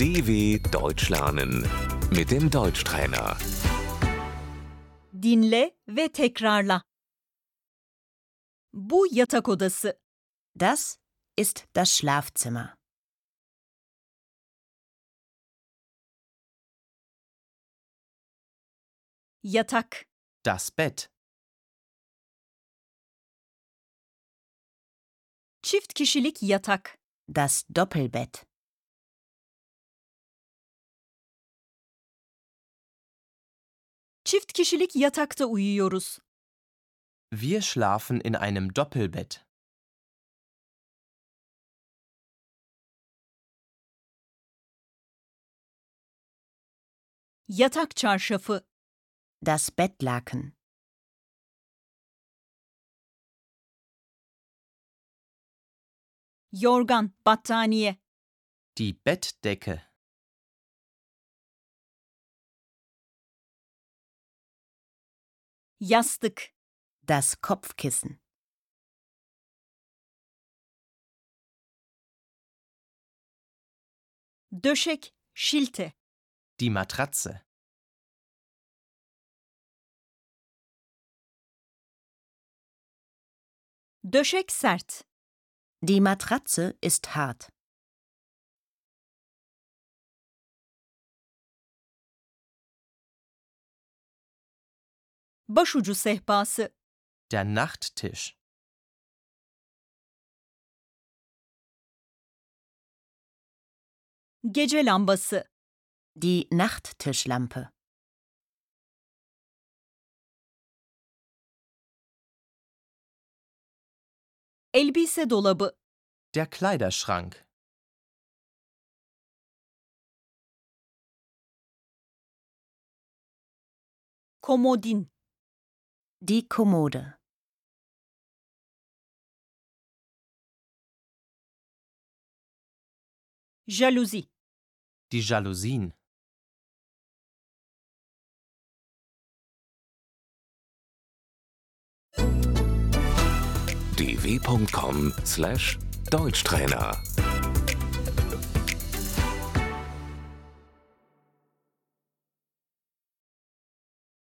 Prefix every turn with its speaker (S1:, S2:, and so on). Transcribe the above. S1: DW Deutsch lernen mit dem Deutschtrainer.
S2: Dinle ve tekrarla. Bu yatak odası.
S3: Das ist das Schlafzimmer.
S2: Yatak.
S4: Das Bett.
S2: Çift kişilik yatak.
S3: Das Doppelbett.
S2: Çift kişilik yatakta uyuyoruz.
S4: Wir schlafen in einem Doppelbett.
S2: Yatak çarşafı.
S3: Das Bettlaken.
S2: Yorgan, battaniye.
S4: Die Bettdecke.
S2: Yastık.
S3: Das Kopfkissen.
S2: Döşek, şilte.
S4: Die Matratze.
S2: Döşek sert.
S3: Die Matratze ist hart.
S2: Başucu sehpası.
S4: Der Nachttisch.
S2: Gece lambası.
S3: Die Nachttischlampe.
S2: Elbise dolabı.
S4: Der Kleiderschrank.
S2: Komodin.
S3: Die Kommode.
S2: Jaluzi.
S4: Die Jalousien.
S1: dw.com/deutschtrainer